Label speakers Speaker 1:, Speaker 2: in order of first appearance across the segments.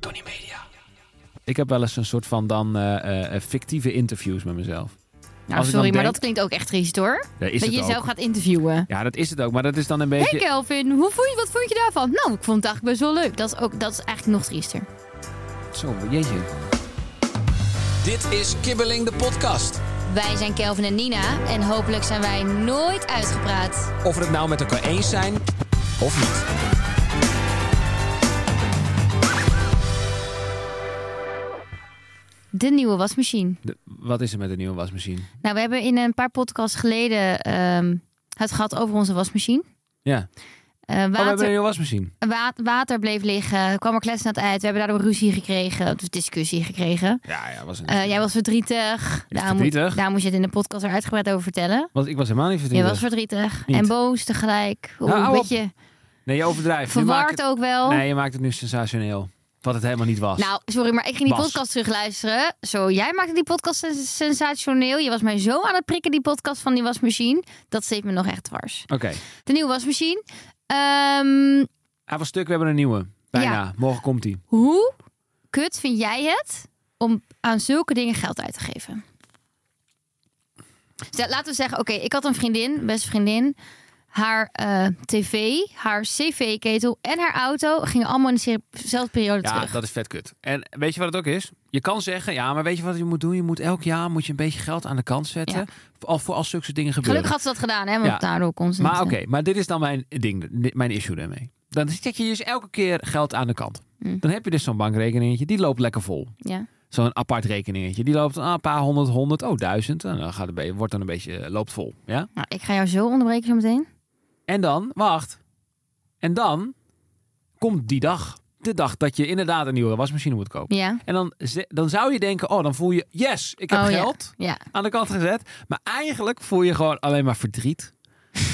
Speaker 1: Tony Media.
Speaker 2: Ik heb wel eens een soort van dan eh, eh, fictieve interviews met mezelf.
Speaker 3: Nou,
Speaker 2: Als ik
Speaker 3: sorry, maar
Speaker 2: dan denk-
Speaker 3: dat klinkt ook echt triest hoor.
Speaker 2: Ja, is
Speaker 3: dat
Speaker 2: het
Speaker 3: je jezelf
Speaker 2: ook.
Speaker 3: gaat interviewen.
Speaker 2: Ja, dat is het ook. Maar dat is dan een
Speaker 3: Hé
Speaker 2: beetje...
Speaker 3: hey Kelvin, hoe vond je, wat vond je daarvan? Nou, ik vond het eigenlijk best wel leuk. Dat is, ook, dat is eigenlijk nog triester.
Speaker 2: Zo, jeetje.
Speaker 1: Dit is Kibbeling de podcast.
Speaker 3: Wij zijn Kelvin en Nina en hopelijk zijn wij nooit uitgepraat.
Speaker 1: Of we het nou met elkaar eens zijn of niet.
Speaker 3: De nieuwe wasmachine.
Speaker 2: De- wat is er met de nieuwe wasmachine?
Speaker 3: Nou, we hebben in een paar podcasts geleden ehm, het gehad over onze wasmachine.
Speaker 2: Ja.
Speaker 3: Eh,
Speaker 2: Oh, we
Speaker 3: water,
Speaker 2: hebben een nieuwe wasmachine.
Speaker 3: wa- water bleef liggen, kwam er kletsnaad uit. We hebben daardoor ruzie gekregen, dus discussie gekregen.
Speaker 2: Ja, ja, was een...
Speaker 3: Eh, jij was verdrietig. Daar moet,
Speaker 2: verdrietig?
Speaker 3: daar moest je het in de podcast er uitgebreid over vertellen.
Speaker 2: Want ik was helemaal niet
Speaker 3: Je
Speaker 2: verdrietig.
Speaker 3: was verdrietig
Speaker 2: Niet.
Speaker 3: en boos tegelijk. Oeh,
Speaker 2: Nou,
Speaker 3: een
Speaker 2: hou op.
Speaker 3: beetje
Speaker 2: Nee, je overdrijft. Nu maak
Speaker 3: verward
Speaker 2: het-
Speaker 3: ook wel.
Speaker 2: Nee, je maakt het nu sensationeel. Wat het helemaal niet was.
Speaker 3: Nou, sorry, maar ik ging die
Speaker 2: Was.
Speaker 3: podcast terugluisteren. Zo, jij maakte die podcast sens- sensationeel. Je was mij zo aan het prikken, die podcast van die wasmachine. Dat steekt me nog echt dwars.
Speaker 2: Oké.
Speaker 3: De nieuwe wasmachine. Ehm,
Speaker 2: Hij was stuk, we hebben een nieuwe. Bijna.
Speaker 3: Ja.
Speaker 2: Morgen komt hij.
Speaker 3: hoe kut vind jij het om aan zulke dingen geld uit te geven? Stel, laten we zeggen, oké, ik had een vriendin, beste vriendin. Haar eh, tv, haar cv-ketel en haar auto gingen allemaal in dezelfde periode
Speaker 2: Ja,
Speaker 3: terug.
Speaker 2: dat is vet kut. En weet je wat het ook is? Je kan zeggen, ja, maar weet je wat je moet doen? Je moet elk jaar moet je een beetje geld aan de kant zetten.
Speaker 3: Ja.
Speaker 2: Al voor als zulke soort dingen gebeuren.
Speaker 3: Gelukkig had ze dat gedaan, hè, want
Speaker 2: Ja.
Speaker 3: daardoor kon ze
Speaker 2: Maar
Speaker 3: niet,
Speaker 2: oké,
Speaker 3: eh,
Speaker 2: maar dit is dan mijn ding, di- mijn issue daarmee. Dan zet je dus elke keer geld aan de kant.
Speaker 3: Mm.
Speaker 2: Dan heb je dus zo'n bankrekeningetje, die loopt lekker vol.
Speaker 3: ja.
Speaker 2: Zo'n apart rekeningetje, die loopt ah, een paar honderd, honderd, oh duizend. En dan gaat het, be- wordt dan een beetje, eh, loopt vol. Ja?
Speaker 3: Nou, ik ga jou zo onderbreken zo meteen.
Speaker 2: En dan, wacht. En dan komt die dag. De dag dat je inderdaad een nieuwe wasmachine moet kopen.
Speaker 3: Ja.
Speaker 2: En dan, ze- dan zou je denken, oh, dan voel je, yes, ik heb
Speaker 3: Oh, ja.
Speaker 2: geld
Speaker 3: Ja.
Speaker 2: aan de kant gezet. Maar eigenlijk voel je gewoon alleen maar verdriet.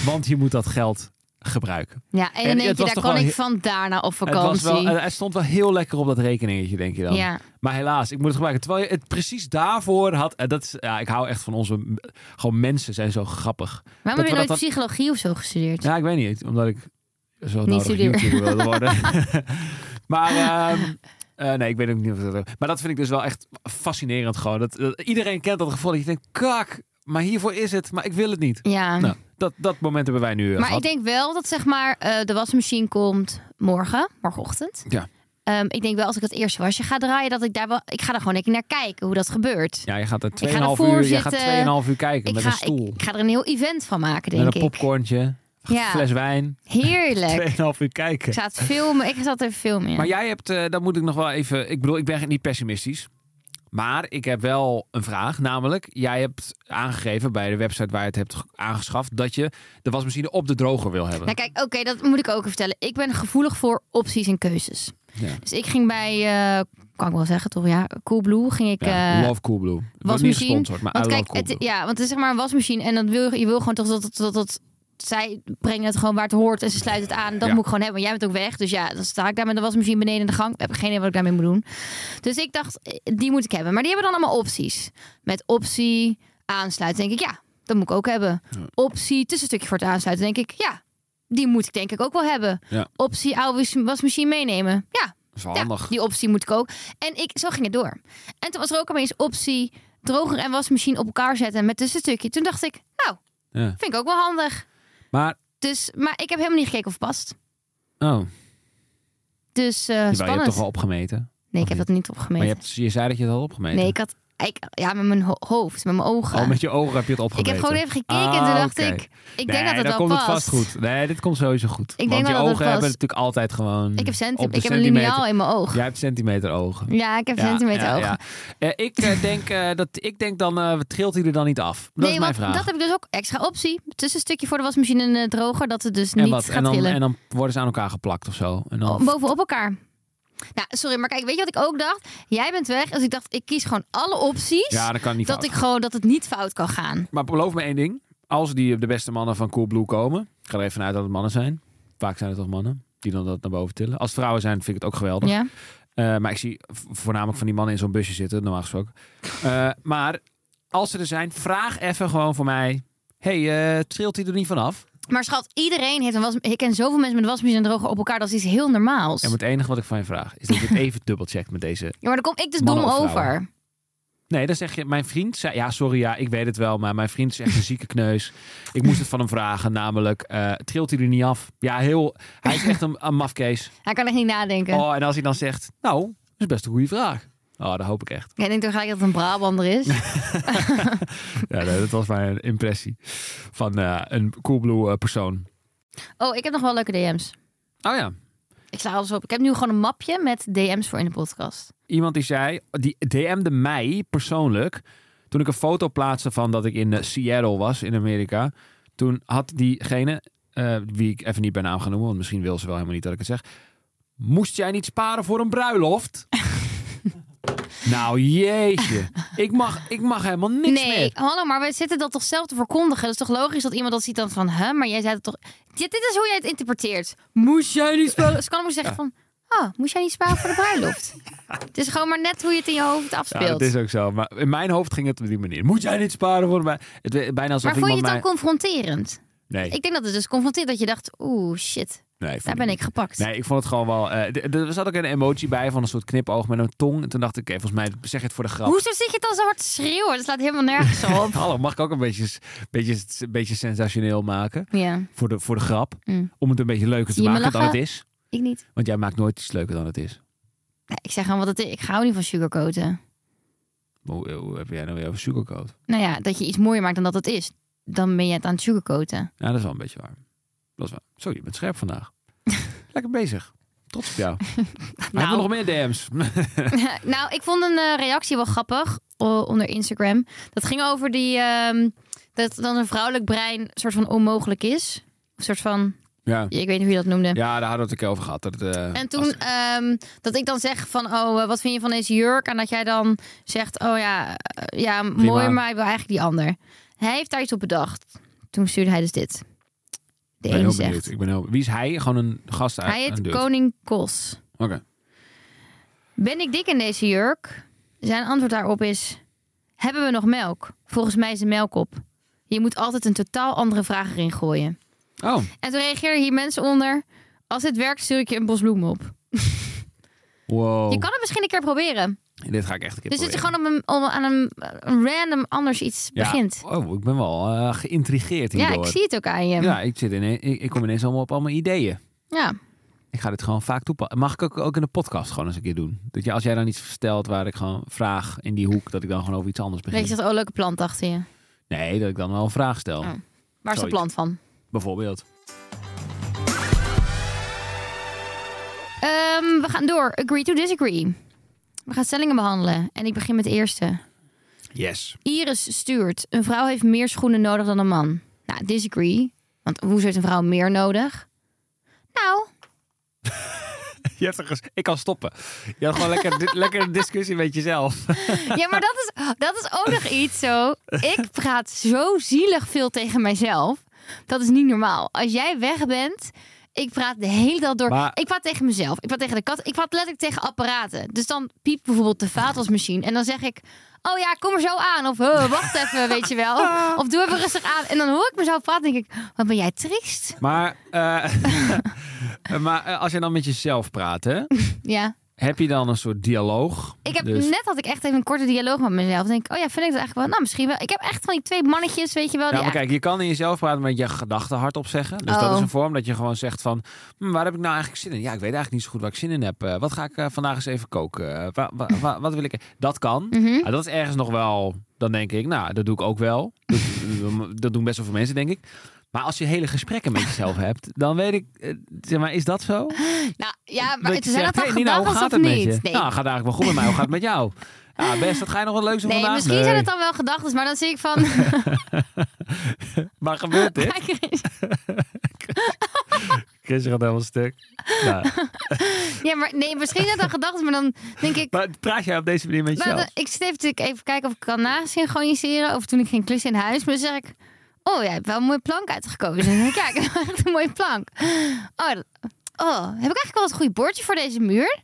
Speaker 2: Want je moet dat geld gebruiken.
Speaker 3: Ja, en
Speaker 2: En
Speaker 3: dan
Speaker 2: het
Speaker 3: denk
Speaker 2: was
Speaker 3: je, daar
Speaker 2: toch
Speaker 3: kan
Speaker 2: wel
Speaker 3: ik
Speaker 2: he-
Speaker 3: vandaar naar op
Speaker 2: Het, was
Speaker 3: vakantie.
Speaker 2: wel, eh, het stond wel heel lekker op dat rekeningetje, denk je dan.
Speaker 3: Ja.
Speaker 2: Maar helaas, ik moet het gebruiken. Terwijl je het precies daarvoor had. eh, dat is, ja, ik hou echt van onze. m- Gewoon mensen zijn zo grappig.
Speaker 3: Waarom
Speaker 2: Dat
Speaker 3: heb je
Speaker 2: we
Speaker 3: nooit
Speaker 2: dat dan-
Speaker 3: psychologie of zo gestudeerd?
Speaker 2: Ja, ik weet niet. Omdat ik zo nodig
Speaker 3: studeren.
Speaker 2: YouTuber wilde worden. maar ehm, eh, nee, ik weet ook niet of dat ook- Maar dat vind ik dus wel echt fascinerend gewoon. Dat, dat iedereen kent dat gevoel dat je denkt, kak, maar hiervoor is het. Maar ik wil het niet.
Speaker 3: Ja.
Speaker 2: Nou, dat, dat moment hebben wij nu eh,
Speaker 3: maar ik
Speaker 2: gehad.
Speaker 3: denk wel dat zeg maar eh, de wasmachine komt morgen, morgenochtend.
Speaker 2: Ja.
Speaker 3: Ehm, ik denk wel als ik het eerste wasje ga draaien, dat ik daar wel... Ik ga er gewoon een keer naar kijken hoe dat gebeurt.
Speaker 2: Ja, je gaat er
Speaker 3: ga
Speaker 2: 2,5
Speaker 3: ervoor
Speaker 2: uur, je gaat
Speaker 3: zitten.
Speaker 2: 2,5 uur kijken
Speaker 3: ik,
Speaker 2: met een
Speaker 3: ga,
Speaker 2: stoel.
Speaker 3: ik, ik ga er een heel event van maken, denk
Speaker 2: met een
Speaker 3: ik.
Speaker 2: popcornje,
Speaker 3: Ja.
Speaker 2: fles wijn, 2,5
Speaker 3: Heerlijk.
Speaker 2: uur kijken.
Speaker 3: Ik zat filmen. Ik zat even filmen. ja.
Speaker 2: Maar jij hebt, eh dat moet ik nog wel even. Ik bedoel, ik ben niet pessimistisch. Maar ik heb wel een vraag. Namelijk, jij hebt aangegeven bij de website waar je het hebt ge- aangeschaft. dat je de wasmachine op de droger wil hebben.
Speaker 3: Nou kijk, oké, dat moet ik ook even vertellen. Ik ben gevoelig voor opties en keuzes.
Speaker 2: Ja.
Speaker 3: Dus ik ging bij, eh, kan ik wel zeggen toch, ja, Coolblue ging ik...
Speaker 2: Ja,
Speaker 3: eh,
Speaker 2: love Coolblue. Het wordt niet
Speaker 3: wasmachine.
Speaker 2: gesponsord, maar
Speaker 3: want
Speaker 2: I love
Speaker 3: kijk, het,
Speaker 2: Coolblue.
Speaker 3: ja, want het is zeg maar een wasmachine en dat wil, je wil gewoon toch dat, dat, dat, dat- zij brengen het gewoon waar het hoort en ze sluiten het aan. Dat
Speaker 2: Ja.
Speaker 3: moet ik gewoon hebben, want jij bent ook weg. Dus ja, dan sta ik daar met de wasmachine beneden in de gang. Ik heb geen idee wat ik daarmee moet doen. Dus ik dacht, eh, die moet ik hebben. Maar die hebben dan allemaal opties. Met optie aansluiten denk ik, ja, dat moet ik ook hebben. Optie tussenstukje voor het aansluiten denk ik, ja, die moet ik denk ik ook wel hebben.
Speaker 2: Ja.
Speaker 3: Optie oude wasmachine meenemen, ja,
Speaker 2: Dat is wel
Speaker 3: ja,
Speaker 2: handig.
Speaker 3: die optie moet ik ook. En ik, zo ging het door. En toen was er ook opeens optie droger en wasmachine op elkaar zetten met tussenstukje. Toen dacht ik, nou,
Speaker 2: Ja.
Speaker 3: vind ik ook wel handig.
Speaker 2: Maar,
Speaker 3: Dus, maar ik heb helemaal niet gekeken of het past.
Speaker 2: oh,
Speaker 3: Dus eh,
Speaker 2: jawel, je hebt
Speaker 3: spannend.
Speaker 2: toch wel opgemeten.
Speaker 3: Nee, ik
Speaker 2: of
Speaker 3: heb dat niet opgemeten.
Speaker 2: Maar je, hebt, je zei dat je het had opgemeten.
Speaker 3: Nee, ik had Ik, ja, met mijn ho- hoofd, met mijn ogen.
Speaker 2: Al met je ogen heb je het
Speaker 3: ik
Speaker 2: opgemeten.
Speaker 3: heb gewoon even gekeken en toen
Speaker 2: Ah,
Speaker 3: dacht
Speaker 2: oké.
Speaker 3: ik, ik denk dat
Speaker 2: Nee,
Speaker 3: het
Speaker 2: dan
Speaker 3: wel
Speaker 2: komt
Speaker 3: past.
Speaker 2: het vast goed. Nee, dit komt sowieso goed.
Speaker 3: denk
Speaker 2: Want
Speaker 3: wel
Speaker 2: je
Speaker 3: dat het
Speaker 2: ogen hebben
Speaker 3: past.
Speaker 2: natuurlijk altijd gewoon...
Speaker 3: Ik heb, centi-
Speaker 2: op de
Speaker 3: ik heb een lineaal in mijn oog.
Speaker 2: Jij hebt centimeter ogen.
Speaker 3: Ja, ik heb
Speaker 2: Ja,
Speaker 3: centimeter
Speaker 2: ja,
Speaker 3: ogen.
Speaker 2: ja. Eh, ik, eh, denk, eh, dat, ik denk dan, eh, trilt hij er dan niet af? Dat
Speaker 3: nee,
Speaker 2: is mijn
Speaker 3: want
Speaker 2: vraag.
Speaker 3: dat heb ik dus ook extra optie. Tussenstukje voor de wasmachine en de droger, dat het dus
Speaker 2: en,
Speaker 3: niet
Speaker 2: wat?
Speaker 3: gaat
Speaker 2: en, dan,
Speaker 3: trillen.
Speaker 2: en dan worden ze aan elkaar geplakt of zo. En dan,
Speaker 3: Oh, Bovenop elkaar. Nou, sorry, maar kijk, weet je wat ik ook dacht? Jij bent weg, dus ik dacht, ik kies gewoon alle opties.
Speaker 2: ja, dat kan niet
Speaker 3: dat
Speaker 2: fout
Speaker 3: ik gewoon dat het niet fout kan gaan.
Speaker 2: Maar beloof me één ding. Als die eh, de beste mannen van Coolblue komen... Ik ga er even vanuit dat het mannen zijn. Vaak zijn het toch mannen die dan dat naar boven tillen. Als het vrouwen zijn, vind ik het ook geweldig.
Speaker 3: Ja.
Speaker 2: Eh, maar ik zie v- voornamelijk van die mannen in zo'n busje zitten, normaal gesproken. Eh, maar als ze er zijn, vraag even gewoon voor mij... hey, eh trilt hij er niet vanaf?
Speaker 3: Maar schat, iedereen heeft een was. Ik ken zoveel mensen met wasmachine en droger op elkaar. Dat is iets heel normaals.
Speaker 2: En het enige wat ik van je vraag is dat je het even dubbelcheckt met deze...
Speaker 3: Ja, maar dan kom ik dus dom
Speaker 2: Mannen of vrouwen?
Speaker 3: over.
Speaker 2: Nee, dan zeg je, mijn vriend zei... Ja, sorry, ja, ik weet het wel, maar mijn vriend is echt een zieke kneus. Ik moest het van hem vragen, namelijk... eh, trilt hij er niet af? Ja, heel... Hij is echt een, een mafkees.
Speaker 3: Hij kan echt niet nadenken.
Speaker 2: Oh, en als hij dan zegt, nou, dat is best een goede vraag. Oh, dat hoop ik echt.
Speaker 3: Ik denk toch gelijk dat het een Brabander is.
Speaker 2: Ja, nee, dat was mijn impressie van eh, een coolblue eh, persoon.
Speaker 3: Oh, ik heb nog wel leuke DM's.
Speaker 2: Oh ja,
Speaker 3: Ik sla alles op. Ik heb nu gewoon een mapje met DM's voor in de podcast.
Speaker 2: iemand die zei, die DM'de mij persoonlijk toen ik een foto plaatste van dat ik in eh, Seattle was in Amerika. Toen had diegene, eh, wie ik even niet bij naam ga noemen, want misschien wil ze wel helemaal niet dat ik het zeg. Moest jij niet sparen voor een bruiloft? nou jeetje, ik mag, ik mag helemaal niks
Speaker 3: nee,
Speaker 2: meer.
Speaker 3: hallo, maar we zitten dat toch zelf te verkondigen. Dat is toch logisch dat iemand dat ziet dan van, hè, maar jij zei het toch... Dit, dit is hoe jij het interpreteert. Moest jij niet sparen? Ze kan hem ook zeggen van, oh, moest jij niet sparen voor de bruiloft? het is gewoon maar net hoe je het in je hoofd
Speaker 2: Ja, dat
Speaker 3: afspeelt.
Speaker 2: is ook zo. Maar in mijn hoofd ging het op die manier. Moet jij dit sparen voor mij? Het werd bijna alsof
Speaker 3: maar vond je het
Speaker 2: iemand
Speaker 3: dan confronterend?
Speaker 2: mij... Nee,
Speaker 3: Ik denk dat het dus confronteert dat je dacht, oeh, shit,
Speaker 2: nee, ik vond
Speaker 3: daar
Speaker 2: het
Speaker 3: ben
Speaker 2: niet.
Speaker 3: ik gepakt.
Speaker 2: Nee, ik vond het gewoon wel... eh, d- d- er zat ook een emotie bij van een soort knipoog met een tong. En toen dacht ik, oké, volgens mij zeg je het voor de grap.
Speaker 3: Hoezo zit je dan zo hard te schreeuwen? Dat slaat helemaal nergens op.
Speaker 2: Hallo, mag ik ook een beetje, s- beetje, s- beetje sensationeel maken?
Speaker 3: ja,
Speaker 2: Voor de, voor de grap.
Speaker 3: Mm.
Speaker 2: Om het een beetje leuker te
Speaker 3: Zie je me
Speaker 2: maken dan het
Speaker 3: lachen?
Speaker 2: is.
Speaker 3: ik niet.
Speaker 2: Want jij maakt nooit iets leuker dan het is.
Speaker 3: Nee, ik zeg gewoon wat het is. Ik hou niet van sugarcoaten.
Speaker 2: Maar Hoe, hoe heb jij nou weer over sugarcoat?
Speaker 3: Nou ja, dat je iets mooier maakt dan dat het is. Dan ben je het aan het sugarcoaten.
Speaker 2: Ja, dat is wel een beetje waar. Dat is waar. Zo, je bent scherp vandaag. Lekker bezig. Trots op jou. Hebben we nog meer DM's?
Speaker 3: nou, ik vond een eh, reactie wel grappig o- onder Instagram. Dat ging over die, ehm, dat dan een vrouwelijk brein soort van onmogelijk is. Een soort van,
Speaker 2: ja.
Speaker 3: ik weet niet hoe je dat noemde.
Speaker 2: Ja, daar hadden we het een keer over gehad. Dat, het, eh,
Speaker 3: En toen
Speaker 2: als-
Speaker 3: ehm, dat ik dan zeg van, oh, eh, wat vind je van deze jurk? En dat jij dan zegt, oh ja, eh, ja mooi, maar ik wil eigenlijk die ander. Hij heeft daar iets op bedacht. Toen stuurde hij dus dit. De
Speaker 2: ik ben
Speaker 3: ene
Speaker 2: heel benieuwd.
Speaker 3: zegt,
Speaker 2: Ik ben heel... Wie is hij? Gewoon een gast uit.
Speaker 3: hij
Speaker 2: een
Speaker 3: heet
Speaker 2: dude.
Speaker 3: Koning Kos.
Speaker 2: Oké.
Speaker 3: Ben ik dik in deze jurk? Zijn antwoord daarop is: Hebben we nog melk? Volgens mij is de melk op. Je moet altijd een totaal andere vraag erin gooien.
Speaker 2: Oh,
Speaker 3: En toen reageerden hier mensen onder: Als dit werkt, stuur ik je een bos bloemen op.
Speaker 2: Oh. wow.
Speaker 3: Je kan het misschien een keer proberen.
Speaker 2: Dit ga ik echt een keer
Speaker 3: Dus dat je
Speaker 2: proberen.
Speaker 3: gewoon op een, om- aan een, een random anders iets
Speaker 2: Ja.
Speaker 3: begint.
Speaker 2: Oh, ik ben wel eh, geïntrigeerd
Speaker 3: Ja,
Speaker 2: hierdoor.
Speaker 3: ik zie het ook aan je. Ja.
Speaker 2: Ja, ik, zit ineens, ik, ik kom ineens allemaal op allemaal ideeën. Ik ga dit gewoon vaak toepassen. Mag ik ook, ook in de podcast gewoon eens een keer doen? Dat je, als jij dan iets vertelt waar ik gewoon vraag in die hoek, dat ik dan gewoon over iets anders
Speaker 3: Dat je
Speaker 2: begin.
Speaker 3: zegt: Oh, leuke plant achter je.
Speaker 2: Nee, dat ik dan wel een vraag stel.
Speaker 3: Oh. Waar is
Speaker 2: Zoiets.
Speaker 3: de plant van?
Speaker 2: Bijvoorbeeld.
Speaker 3: Ehm, we gaan door. Agree to disagree. We gaan stellingen behandelen. En ik begin met de eerste.
Speaker 2: Yes.
Speaker 3: Iris stuurt: Een vrouw heeft meer schoenen nodig dan een man. Nou, disagree. Want hoezo heeft een vrouw meer nodig? Nou,
Speaker 2: Je hebt er ges- ik kan stoppen. Je had gewoon lekker, di- lekker een discussie met jezelf.
Speaker 3: ja, maar dat is, dat is ook nog iets zo. Ik praat zo zielig veel tegen mijzelf. Dat is niet normaal. Als jij weg bent, ik praat de hele dag door.
Speaker 2: Maar-
Speaker 3: Ik praat tegen mezelf. Ik praat tegen de kat. Ik praat letterlijk tegen apparaten. Dus dan piept bijvoorbeeld de vaatwasmachine. En dan zeg ik, oh ja, kom er zo aan. Of "Huh, wacht even, weet je wel. Of doe even rustig aan. En dan hoor ik mezelf praten denk ik, wat ben jij triest?
Speaker 2: Maar, eh, maar eh, als je dan met jezelf praat, hè?
Speaker 3: Ja.
Speaker 2: Heb je dan een soort dialoog?
Speaker 3: Ik heb
Speaker 2: Dus-
Speaker 3: net had ik echt even een korte dialoog met mezelf. Denk, ik, oh ja, vind ik dat eigenlijk wel. Nou, misschien wel. Ik heb echt van die twee mannetjes, weet je wel.
Speaker 2: Ja,
Speaker 3: die
Speaker 2: Nou, maar kijk, je kan in jezelf praten met je gedachten hardop zeggen. Dus dat
Speaker 3: Oh.
Speaker 2: is een vorm dat je gewoon zegt van... "Hm, waar heb ik nou eigenlijk zin in? Ja, ik weet eigenlijk niet zo goed waar ik zin in heb. Eh, wat ga ik eh, vandaag eens even koken? Eh, wa- wa- wa- wat wil ik... Dat kan.
Speaker 3: Mhm.
Speaker 2: Ah, dat is ergens nog wel... Dan denk ik, nou, dat doe ik ook wel. Dat, dat doen best wel veel mensen, denk ik. Maar als je hele gesprekken met jezelf hebt, dan weet ik... eh, Zeg maar, is dat zo?
Speaker 3: Nou ja,
Speaker 2: Dat
Speaker 3: maar
Speaker 2: je
Speaker 3: het zijn
Speaker 2: zegt,
Speaker 3: dat dan
Speaker 2: "Hey, Nina, hoe
Speaker 3: gedachten
Speaker 2: gaat
Speaker 3: of
Speaker 2: het met je?
Speaker 3: niet? Nee.
Speaker 2: Nou, gaat eigenlijk wel goed met mij. Hoe gaat het met jou? Ja, best, dat ga je nog wat leuks doen
Speaker 3: Nee,
Speaker 2: vandaag?
Speaker 3: misschien zijn het dan wel gedachten, maar dan zie ik van.
Speaker 2: Maar gebeurt dit? Chris gaat helemaal stuk. Ja.
Speaker 3: ja, maar nee, misschien zijn het dan gedachten, maar dan denk ik.
Speaker 2: Maar praat jij op deze manier met
Speaker 3: Nou,
Speaker 2: jezelf?
Speaker 3: dan- ik zit even, te- even kijken of ik kan nasynchroniseeren. Of toen ik ging klussen in huis. Maar dan zeg ik, oh, jij hebt wel een mooie plank uitgekozen. En dan kijk, ik heb echt een mooie plank. Oh, dat- oh, heb ik eigenlijk wel het goede bordje voor deze muur?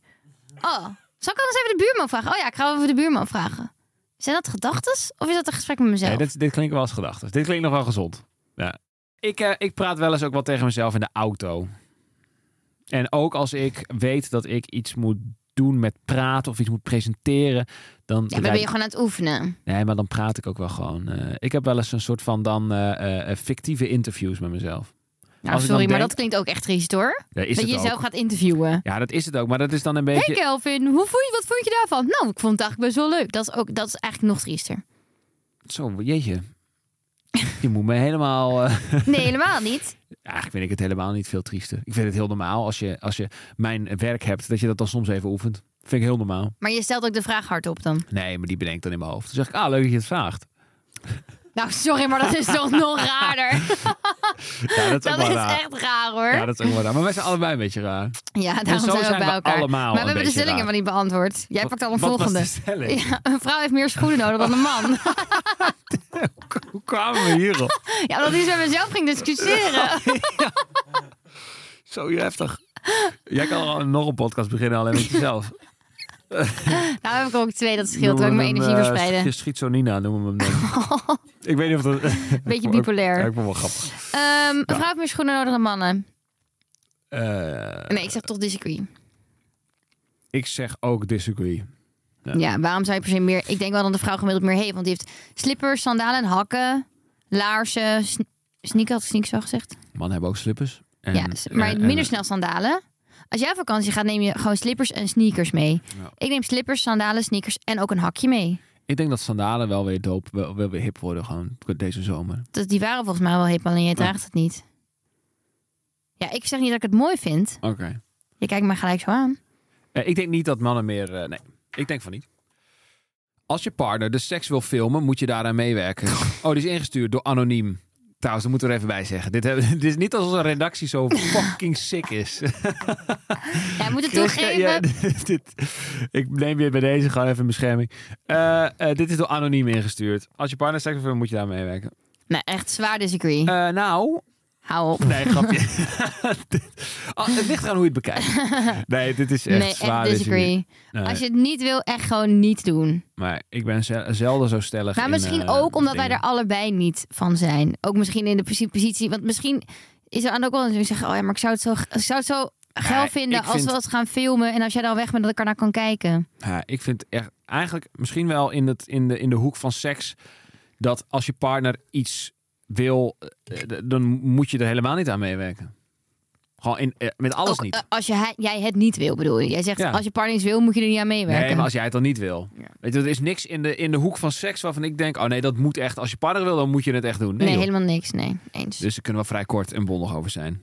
Speaker 3: Oh, zal ik anders even de buurman vragen? Oh ja, ik ga wel even de buurman vragen. Zijn dat gedachten? Of is dat een gesprek met mezelf?
Speaker 2: Nee, dit, dit klinkt wel als gedachten. Dit klinkt nog wel gezond. Ja. Ik, eh, ik praat wel eens ook wel tegen mezelf in de auto. En ook als ik weet dat ik iets moet doen met praten of iets moet presenteren, dan
Speaker 3: ja, maar
Speaker 2: rijd-
Speaker 3: ben je gewoon aan het oefenen? Nou,
Speaker 2: nee, maar dan praat ik ook wel gewoon. eh, ik heb wel eens een soort van dan eh, eh, fictieve interviews met mezelf.
Speaker 3: Nou,
Speaker 2: Als ik
Speaker 3: sorry,
Speaker 2: dan
Speaker 3: maar
Speaker 2: denk-
Speaker 3: dat klinkt ook echt triest hoor.
Speaker 2: Ja, is
Speaker 3: dat je
Speaker 2: het
Speaker 3: jezelf
Speaker 2: ook.
Speaker 3: gaat interviewen.
Speaker 2: Ja, dat is het ook. Maar dat is dan een
Speaker 3: Hé
Speaker 2: beetje.
Speaker 3: hey Kelvin, hoe vond je, wat vond je daarvan? Nou, ik vond het eigenlijk best wel leuk. Dat is, ook, dat is eigenlijk nog triester.
Speaker 2: Zo, jeetje. Je moet me helemaal. eh,
Speaker 3: Nee, helemaal niet.
Speaker 2: Eigenlijk vind ik het helemaal niet veel triester. Ik vind het heel normaal als je, als je mijn werk hebt, dat je dat dan soms even oefent. Vind ik heel normaal.
Speaker 3: Maar je stelt ook de vraag hardop dan.
Speaker 2: Nee, maar die bedenkt dan in mijn hoofd. Dan zeg ik, ah, leuk dat je het vraagt.
Speaker 3: Nou, sorry, maar dat is toch nog raarder.
Speaker 2: Ja, dat is
Speaker 3: Dat
Speaker 2: ook wel
Speaker 3: is
Speaker 2: raar.
Speaker 3: echt raar hoor.
Speaker 2: Ja, dat is ook wel raar. Maar wij zijn allebei een beetje raar.
Speaker 3: Ja,
Speaker 2: Dus
Speaker 3: daarom
Speaker 2: zo
Speaker 3: zijn we ook
Speaker 2: zijn
Speaker 3: bij
Speaker 2: we
Speaker 3: elkaar.
Speaker 2: allemaal
Speaker 3: maar we
Speaker 2: een
Speaker 3: hebben de
Speaker 2: beetje
Speaker 3: stellingen
Speaker 2: raar.
Speaker 3: maar niet beantwoord. Jij pakt al een
Speaker 2: Wat
Speaker 3: volgende.
Speaker 2: was de stelling?
Speaker 3: Ja, een vrouw heeft meer schoenen nodig dan een man.
Speaker 2: Hoe kwamen we hierop?
Speaker 3: Ja, omdat hij zo met mezelf ging discussiëren.
Speaker 2: Zo heftig. Jij kan al nog een podcast beginnen alleen met jezelf.
Speaker 3: Nou heb ik er ook twee, dat
Speaker 2: Noemen
Speaker 3: scheelt.
Speaker 2: we
Speaker 3: Wil ik mijn
Speaker 2: hem,
Speaker 3: energie
Speaker 2: eh,
Speaker 3: verspreiden.
Speaker 2: schi- Schizonina noemen we hem dan. ik weet niet of dat...
Speaker 3: Beetje
Speaker 2: Ja,
Speaker 3: bipolair.
Speaker 2: ik vond het wel grappig.
Speaker 3: Ehm, een vrouw heeft meer schoenen nodig dan mannen.
Speaker 2: Eh,
Speaker 3: Nee, ik zeg toch disagree.
Speaker 2: ik zeg ook disagree.
Speaker 3: Ja, waarom zou je per se meer... Ik denk wel dat de vrouw gemiddeld meer heeft. Want die heeft slippers, sandalen, hakken, laarzen, sn- sneaker. Had ik sneakers al gezegd?
Speaker 2: Mannen hebben ook slippers. En- eh,
Speaker 3: Ja, s- maar
Speaker 2: en- en-
Speaker 3: minder snel sandalen. Als jij op vakantie gaat, neem je gewoon slippers en sneakers mee.
Speaker 2: Ja.
Speaker 3: Ik neem slippers, sandalen, sneakers en ook een hakje mee.
Speaker 2: Ik denk dat sandalen wel weer doop, wel, wel weer hip worden gewoon deze zomer.
Speaker 3: Dus die waren volgens mij wel hip, alleen jij draagt het niet. Ja, ik zeg niet dat ik het mooi vind.
Speaker 2: Oké.
Speaker 3: Je kijkt me gelijk zo aan.
Speaker 2: Eh, ik denk niet dat mannen meer. eh, nee, ik denk van niet. Als je partner de seks wil filmen, moet je daaraan meewerken. Oh, die is ingestuurd door anoniem. Trouwens, dat moeten we er even bij zeggen. Dit, hebben, dit is niet als onze redactie zo fucking sick is.
Speaker 3: Jij moet
Speaker 2: Chris,
Speaker 3: het toegeven.
Speaker 2: ja, dit- dit- ik neem je bij deze gewoon even in bescherming. Eh, eh, dit is door anoniem ingestuurd. Als je partner seks wil filmen, moet je daar aan meewerken.
Speaker 3: Nou, echt zwaar disagree.
Speaker 2: Eh, nou,
Speaker 3: Hou op.
Speaker 2: Nee, grapje. Ah, het ligt eraan hoe je het bekijkt. Nee, dit is echt
Speaker 3: nee,
Speaker 2: zwaar.
Speaker 3: echt
Speaker 2: dit is niet.
Speaker 3: disagree.
Speaker 2: Nee,
Speaker 3: Als je het niet wil, echt gewoon niet doen.
Speaker 2: Maar ik ben zel- zelden zo stellig.
Speaker 3: Maar
Speaker 2: in,
Speaker 3: misschien
Speaker 2: eh,
Speaker 3: ook omdat wij
Speaker 2: dingen.
Speaker 3: er allebei niet van zijn. Ook misschien in de posi- positie. Want misschien is er aan ook wel eens die zeggen: Oh ja, maar ik zou het zo, ik zou het zo geil
Speaker 2: ik
Speaker 3: vinden als
Speaker 2: vind-
Speaker 3: we het gaan filmen. En als jij dan weg bent, dat ik ernaar kan kijken.
Speaker 2: Ja, ik vind echt eigenlijk misschien wel in, het, in, de, in de hoek van seks dat als je partner iets wil, eh, d- dan moet je er helemaal niet aan meewerken. Gewoon in, eh, met alles
Speaker 3: Ook,
Speaker 2: niet.
Speaker 3: eh, Als je, hij- jij het niet wil, bedoel je. Jij zegt:
Speaker 2: Ja.
Speaker 3: Als je partner iets wil, moet je er niet aan meewerken.
Speaker 2: Nee, maar als jij het dan niet wil. Weet je, er is niks in de, in de hoek van seks waarvan ik denk: oh nee, dat moet echt. Als je partner wil, dan moet je het echt doen. Nee,
Speaker 3: Nee,
Speaker 2: joh.
Speaker 3: helemaal niks. Nee, eens.
Speaker 2: Dus daar kunnen we vrij kort en bondig over zijn.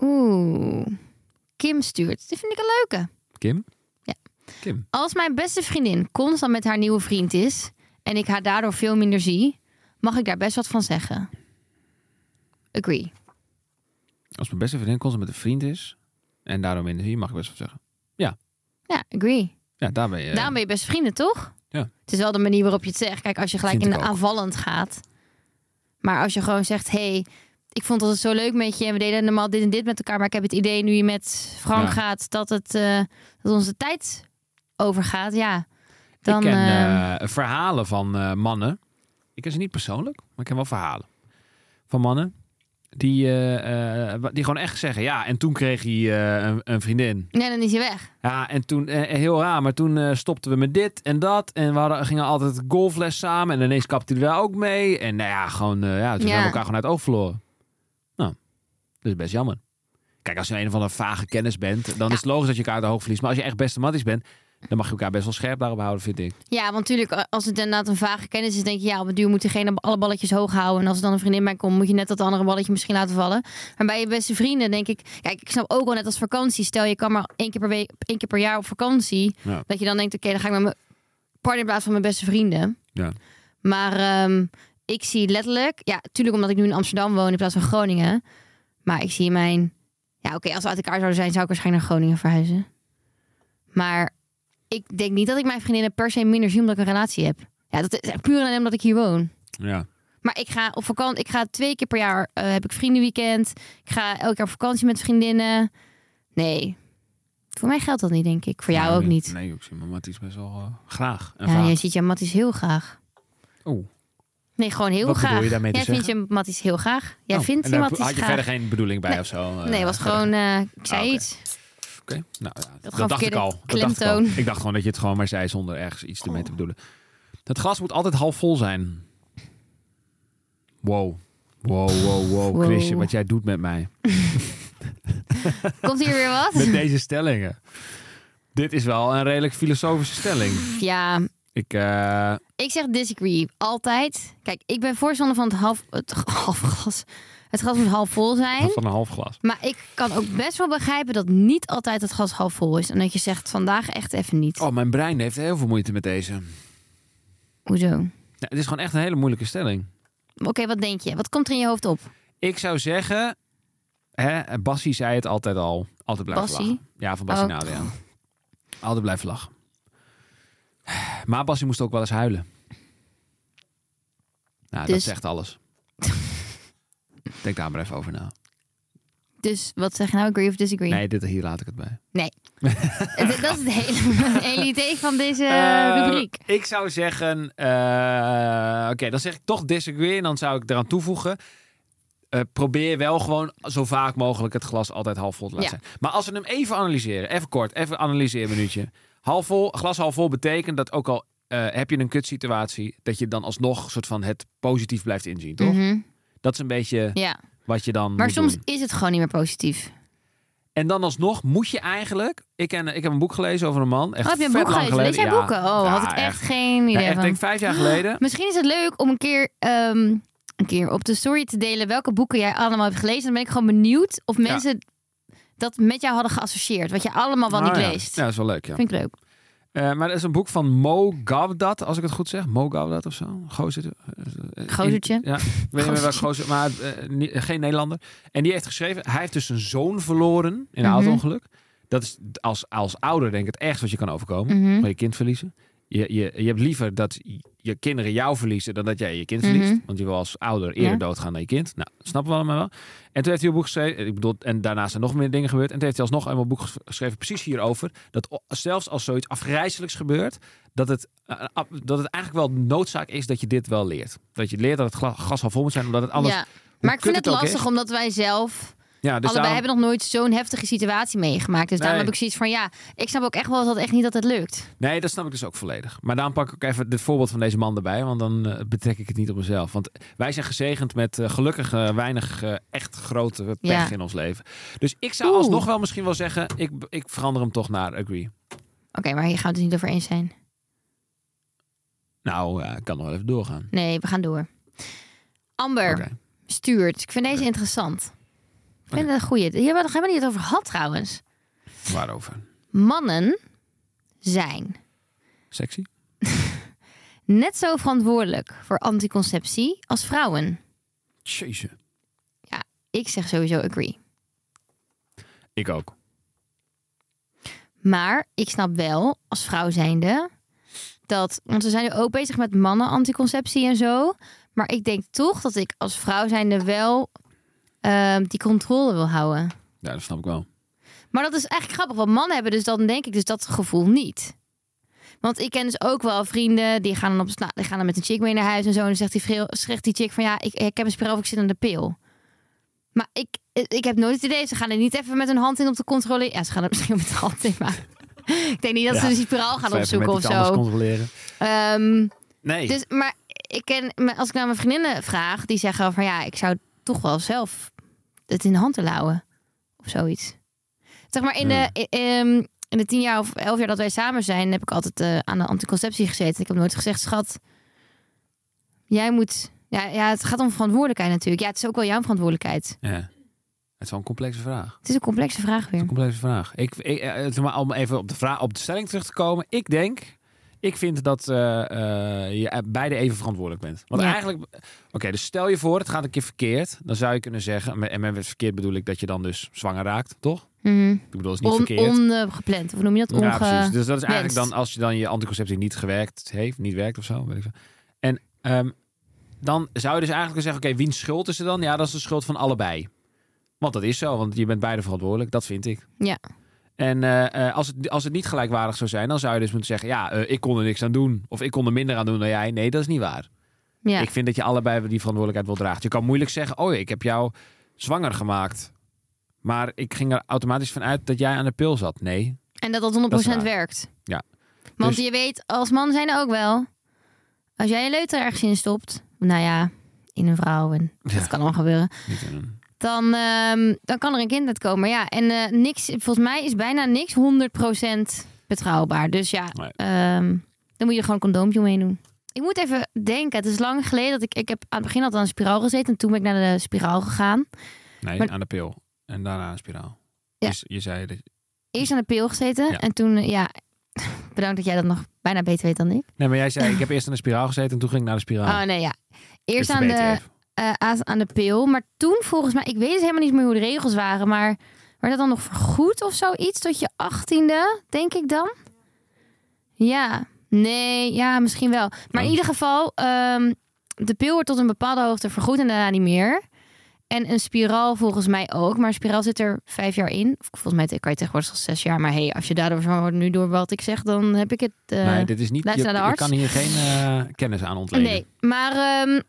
Speaker 3: Oeh. Kim stuurt. Dit vind ik een leuke.
Speaker 2: Kim?
Speaker 3: Ja.
Speaker 2: Kim.
Speaker 3: Als mijn beste vriendin constant met haar nieuwe vriend is. en ik haar daardoor veel minder zie. mag ik daar best wat van zeggen. Agree.
Speaker 2: Als mijn beste vriendin constant met een vriend is en daarom energie, mag ik best wel zeggen.
Speaker 3: Ja, agree.
Speaker 2: Ja, eh, daar ben je.
Speaker 3: Daarom ben je best vrienden, toch?
Speaker 2: Ja.
Speaker 3: Het is wel de manier waarop je het zegt. Kijk, als je gelijk
Speaker 2: Vind
Speaker 3: in
Speaker 2: ik
Speaker 3: de
Speaker 2: ook.
Speaker 3: aanvallend gaat. Maar als je gewoon zegt, hey, ik vond het altijd zo leuk met je. En we deden normaal dit en dit met elkaar. Maar ik heb het idee nu je met Frank
Speaker 2: Ja.
Speaker 3: gaat, dat, het, eh, dat onze tijd overgaat. Ja, dan...
Speaker 2: ik ken
Speaker 3: ehm,
Speaker 2: eh, verhalen van eh, mannen. Ik ken ze niet persoonlijk, maar ik ken wel verhalen van mannen. Die, eh, eh, wa- die gewoon echt zeggen, ja, en toen kreeg hij eh, een, een vriendin.
Speaker 3: nee, dan is hij weg.
Speaker 2: Ja, en toen, eh, heel raar, maar toen eh, stopten we met dit en dat. En we hadden, gingen altijd golfles samen en ineens kapte hij daar ook mee. En nou ja, gewoon, eh, ja, toen
Speaker 3: Ja.
Speaker 2: hebben we elkaar gewoon uit het oog verloren. Nou, dat is best jammer. Kijk, als je een of andere vage kennis bent, dan is het logisch dat je elkaar uit de hoog verliest. Maar als je echt beste matties bent, dan mag je elkaar best wel scherp daarop houden, vind ik.
Speaker 3: Ja, want natuurlijk, eh, als het inderdaad een vage kennis is, denk je ja, op het duur moet diegene alle balletjes hoog houden. En als er dan een vriendin bij komt, moet je net dat andere balletje misschien laten vallen. Maar bij je beste vrienden, denk ik, kijk, ik snap ook wel net als vakantie. Stel je kan maar één keer per week, één keer per jaar op vakantie.
Speaker 2: Ja.
Speaker 3: Dat je dan denkt, oké, dan ga ik met mijn partner in plaats van mijn beste vrienden.
Speaker 2: Ja.
Speaker 3: Maar ehm, ik zie letterlijk, ja, tuurlijk omdat ik nu in Amsterdam woon in plaats van Groningen. Maar ik zie mijn, ja, oké, als we uit elkaar zouden zijn, zou ik waarschijnlijk naar Groningen verhuizen. Maar ik denk niet dat ik mijn vriendinnen per se minder zie omdat ik een relatie heb. Ja, dat is puur en alleen omdat ik hier woon.
Speaker 2: Ja.
Speaker 3: Maar ik ga op vakantie, ik ga twee keer per jaar eh, heb ik vriendenweekend. Ik ga elke keer op vakantie met vriendinnen. Nee, voor mij geldt dat niet, denk ik. Voor jou ook niet.
Speaker 2: Nee, ik zie mijn matties best wel eh, graag. En
Speaker 3: ja,
Speaker 2: vaak.
Speaker 3: jij ziet je Matties heel graag.
Speaker 2: Oeh.
Speaker 3: Nee, gewoon heel
Speaker 2: Wat
Speaker 3: graag.
Speaker 2: bedoel je daarmee te
Speaker 3: jij vindt je Matties heel graag. Jij
Speaker 2: Oh,
Speaker 3: vindt
Speaker 2: en
Speaker 3: je
Speaker 2: daar
Speaker 3: Matties
Speaker 2: Had je
Speaker 3: graag.
Speaker 2: verder geen bedoeling bij of zo? eh,
Speaker 3: nee, het was
Speaker 2: verder?
Speaker 3: gewoon, eh, ik zei
Speaker 2: Ah, oké.
Speaker 3: iets.
Speaker 2: Oké, nou ja, dat,
Speaker 3: gewoon
Speaker 2: dacht ik
Speaker 3: verkeerde
Speaker 2: al. Dat dacht ik al.
Speaker 3: klemtoon.
Speaker 2: Ik dacht gewoon dat je het gewoon maar zei zonder ergens iets ermee te bedoelen. Het glas moet altijd half vol zijn. Wow. Wow, wow, wow.
Speaker 3: Wow.
Speaker 2: Chrisje, wat jij doet met mij.
Speaker 3: Komt hier weer
Speaker 2: Met
Speaker 3: wat?
Speaker 2: deze stellingen. Dit is wel een redelijk filosofische stelling.
Speaker 3: ja,
Speaker 2: Ik, eh,
Speaker 3: Ik zeg disagree. Altijd. Kijk, ik ben voorstander van het half, het half glas. Het glas moet half vol zijn.
Speaker 2: van een half glas.
Speaker 3: Maar ik kan ook best wel begrijpen dat niet altijd het glas half vol is. En dat je zegt vandaag echt even niet.
Speaker 2: Oh, mijn brein heeft heel veel moeite met deze. Nou,
Speaker 3: Hoezo? Maar
Speaker 2: het is gewoon echt een hele moeilijke stelling.
Speaker 3: Oké, wat denk je? Wat komt er in je hoofd op?
Speaker 2: Ik zou zeggen... Hè, Bassie zei het altijd al. Altijd blijven
Speaker 3: Bassie?
Speaker 2: lachen. Ja, van Bassie
Speaker 3: Oh.
Speaker 2: Nadia. Altijd blijven lachen. Maar Bassie moest ook wel eens huilen. Nou, dat
Speaker 3: Dus-
Speaker 2: zegt alles. Denk daar maar even over na.
Speaker 3: Dus wat zeg je nou? Agree of disagree?
Speaker 2: Nee, dit, hier laat ik het bij.
Speaker 3: Nee. dat dat is het hele, het hele idee van deze
Speaker 2: Eh,
Speaker 3: rubriek.
Speaker 2: Ik zou zeggen... eh, Oké, dan zeg ik toch disagree. En dan zou ik eraan toevoegen... eh, probeer wel gewoon zo vaak mogelijk het glas altijd half vol te laten
Speaker 3: Ja.
Speaker 2: zijn. Maar als we hem even analyseren, even kort, even analyseren minuutje. Half vol, glas half vol betekent dat ook al eh, heb je een kutsituatie, dat je dan alsnog soort van het positief blijft inzien, toch?
Speaker 3: Mhm.
Speaker 2: Dat is een beetje
Speaker 3: Ja.
Speaker 2: wat je dan
Speaker 3: Maar
Speaker 2: moet
Speaker 3: soms
Speaker 2: doen.
Speaker 3: is het gewoon niet meer positief.
Speaker 2: En dan alsnog moet je eigenlijk... Ik, ken, ik heb een boek gelezen over een man. Echt
Speaker 3: oh, heb je een
Speaker 2: vet
Speaker 3: boek
Speaker 2: lang
Speaker 3: gelezen? Lees jij
Speaker 2: Ja.
Speaker 3: boeken? Oh,
Speaker 2: Ja,
Speaker 3: had ik echt, geen
Speaker 2: Ja,
Speaker 3: idee
Speaker 2: echt,
Speaker 3: van.
Speaker 2: denk vijf jaar geleden.
Speaker 3: Misschien is het leuk om een keer, ehm, een keer op de story te delen welke boeken jij allemaal hebt gelezen. Dan ben ik gewoon benieuwd of mensen dat met jou hadden geassocieerd. Wat je allemaal wel niet
Speaker 2: Ah, ja.
Speaker 3: leest.
Speaker 2: Ja, dat is wel leuk, ja.
Speaker 3: Vind ik leuk.
Speaker 2: Eh, maar dat is een boek van Mo Gavdat, als ik het goed zeg. Mo Gavdat of zo. Gozer. eh,
Speaker 3: Gozertje.
Speaker 2: in- Ja, ik weet niet meer welke
Speaker 3: Gozertje.
Speaker 2: gozer, maar eh, niet- geen Nederlander. En die heeft geschreven, hij heeft dus een zoon verloren in een
Speaker 3: Mhm.
Speaker 2: auto-ongeluk. Dat is als, als ouder denk ik het ergst wat je kan overkomen.
Speaker 3: Mhm.
Speaker 2: Van je kind verliezen. Je, je, je hebt liever dat je kinderen jou verliezen dan dat jij je kind verliest.
Speaker 3: Mhm.
Speaker 2: Want je wil als ouder eerder
Speaker 3: Ja.
Speaker 2: doodgaan dan je kind. Nou, dat snappen we allemaal wel. En toen heeft hij een boek geschreven. eh, Ik bedoel, en daarnaast zijn nog meer dingen gebeurd. En toen heeft hij alsnog eenmaal een boek ges- geschreven precies hierover. Dat o- zelfs als zoiets afgrijzelijks gebeurt, dat het, eh, ab- dat het eigenlijk wel noodzaak is dat je dit wel leert. Dat je leert dat het gla- gas al vol moet zijn, omdat het anders...
Speaker 3: ja.
Speaker 2: hoe
Speaker 3: Maar ik
Speaker 2: kut
Speaker 3: vind het
Speaker 2: ook is.
Speaker 3: lastig omdat wij zelf
Speaker 2: Ja, dus
Speaker 3: allebei
Speaker 2: daarom-
Speaker 3: hebben nog nooit zo'n heftige situatie meegemaakt. Dus daarom
Speaker 2: Nee.
Speaker 3: heb ik zoiets van ja, ik snap ook echt wel dat echt niet dat het lukt.
Speaker 2: Nee, dat snap ik dus ook volledig. Maar daarom pak ik ook even het voorbeeld van deze man erbij. Want dan eh, betrek ik het niet op mezelf. Want wij zijn gezegend met eh, gelukkig eh, weinig eh, echt grote pech
Speaker 3: Ja.
Speaker 2: in ons leven. Dus ik zou
Speaker 3: Oeh.
Speaker 2: alsnog wel misschien wel zeggen, ik, ik verander hem toch naar agree.
Speaker 3: Oké, maar hier gaan we het dus niet over eens zijn.
Speaker 2: Nou, ja, ik kan nog wel even doorgaan.
Speaker 3: Nee, we gaan door. Amber
Speaker 2: Oké.
Speaker 3: stuurt. Ik vind deze interessant. Ik vind het een goeie. Hier hebben we het nog helemaal niet over gehad trouwens.
Speaker 2: Waarover?
Speaker 3: mannen zijn
Speaker 2: Sexy?
Speaker 3: net zo verantwoordelijk voor anticonceptie als vrouwen.
Speaker 2: Jezus.
Speaker 3: Ja, ik zeg sowieso agree.
Speaker 2: Ik ook.
Speaker 3: Maar ik snap wel, als vrouw zijnde, dat... Want we zijn nu ook bezig met mannen anticonceptie en zo. Maar ik denk toch dat ik als vrouw zijnde wel ehm, die controle wil houden.
Speaker 2: Ja, dat snap ik wel.
Speaker 3: Maar dat is eigenlijk grappig, want mannen hebben dus dan denk ik dus dat gevoel niet. Want ik ken dus ook wel vrienden die gaan dan, op, nou, die gaan dan met een chick mee naar huis en zo. En dan zegt die, vreel- zegt die chick van ja, ik, ik heb een spiraal of ik zit aan de pil. Maar ik, ik heb nooit het idee, ze gaan er niet even met hun hand in om te controleren. Ja, ze gaan er misschien met de hand in, maar ik denk niet dat ze
Speaker 2: Ja.
Speaker 3: dus die spiraal gaan
Speaker 2: Zal even met
Speaker 3: opzoeken of
Speaker 2: iets anders
Speaker 3: zo.
Speaker 2: controleren.
Speaker 3: Ehm,
Speaker 2: Nee.
Speaker 3: dus, maar ik ken, maar als ik naar mijn vriendinnen vraag, die zeggen van ja, ik zou toch wel zelf het in de hand willen houden. Of zoiets. Zeg maar in
Speaker 2: Ja.
Speaker 3: de, i- ehm, in de tien jaar of elf jaar dat wij samen zijn, heb ik altijd eh, aan de anticonceptie gezeten. Ik heb nooit gezegd, schat, jij moet. Ja, ja, het gaat om verantwoordelijkheid natuurlijk. Ja, het is ook wel jouw verantwoordelijkheid.
Speaker 2: Ja. Het is wel een complexe vraag.
Speaker 3: Het is een complexe vraag weer.
Speaker 2: Een complexe vraag. Ik, ik, eh, zeg maar, om even op de, vraag, op de stelling terug te komen. Ik denk, ik vind dat eh, eh, je eh, beide even verantwoordelijk bent. Want
Speaker 3: Ja.
Speaker 2: eigenlijk, oké, dus stel je voor, het gaat een keer verkeerd. Dan zou je kunnen zeggen, en met met verkeerd bedoel ik dat je dan dus zwanger raakt, toch?
Speaker 3: Mhm.
Speaker 2: Ik bedoel, dat is niet
Speaker 3: On,
Speaker 2: verkeerd.
Speaker 3: ongepland. Of noem je dat? Onge...
Speaker 2: Ja, precies. Dus dat is eigenlijk
Speaker 3: wenst.
Speaker 2: dan als je dan je anticonceptie niet gewerkt heeft, niet werkt of zo. Weet ik veel. En ehm, dan zou je dus eigenlijk kunnen zeggen: oké, wiens schuld is er dan? Ja, dat is de schuld van allebei. Want dat is zo, want je bent beide verantwoordelijk, dat vind ik.
Speaker 3: Ja.
Speaker 2: En eh, eh, als, het, als het niet gelijkwaardig zou zijn, dan zou je dus moeten zeggen: ja, eh, ik kon er niks aan doen. Of ik kon er minder aan doen dan jij. Nee, dat is niet waar.
Speaker 3: Ja.
Speaker 2: Ik vind dat je allebei die verantwoordelijkheid wel draagt. Je kan moeilijk zeggen: oh, ik heb jou zwanger gemaakt. Maar ik ging er automatisch van uit dat jij aan de pil zat. Nee,
Speaker 3: En dat dat 100%
Speaker 2: Dat is waar.
Speaker 3: werkt.
Speaker 2: Ja.
Speaker 3: Want
Speaker 2: Dus-
Speaker 3: je weet, als man zijn er ook wel. Als jij je leuter ergens in stopt, nou ja, in een vrouw en dat kan allemaal gebeuren.
Speaker 2: niet in een-
Speaker 3: Dan, ehm, dan kan er een kind uit komen. Ja, en eh, niks, volgens mij is bijna niks 100% betrouwbaar. Dus ja,
Speaker 2: Nee.
Speaker 3: ehm, dan moet je er gewoon een condoompje omheen doen. Ik moet even denken, het is lang geleden dat ik, ik heb aan het begin altijd aan een spiraal gezeten. En toen ben ik naar de spiraal gegaan.
Speaker 2: Nee,
Speaker 3: Maar-
Speaker 2: aan de pil. En daarna een spiraal. Dus
Speaker 3: Ja.
Speaker 2: Je, je zei dat...
Speaker 3: Eerst aan de pil gezeten
Speaker 2: Ja.
Speaker 3: en toen, eh, ja, bedankt dat jij dat nog bijna beter weet dan ik.
Speaker 2: Nee, maar jij zei, ik heb eerst aan de spiraal gezeten en toen ging ik naar de spiraal. Dus
Speaker 3: Oh nee, ja. Eerst
Speaker 2: Ik
Speaker 3: aan
Speaker 2: verbeter
Speaker 3: de,
Speaker 2: even.
Speaker 3: eh, aan- aan de pil. Maar toen volgens mij, ik weet het helemaal niet meer hoe de regels waren. Maar werd dat dan nog vergoed of zoiets? Tot je achttiende, denk ik dan? Ja. Nee, ja, misschien wel. Maar in
Speaker 2: Oh.
Speaker 3: ieder geval, ehm, de pil wordt tot een bepaalde hoogte vergoed en daarna niet meer. En een spiraal volgens mij ook. Maar een spiraal zit er vijf jaar in. Of Volgens mij kan je tegenwoordig al zes jaar. Maar hey, als je daardoor zwanger wordt nu door wat ik zeg, dan heb ik het... eh,
Speaker 2: nee, dit is niet... Je,
Speaker 3: luister naar de
Speaker 2: je
Speaker 3: arts.
Speaker 2: kan hier geen eh, kennis aan ontlenen.
Speaker 3: Nee, maar ehm,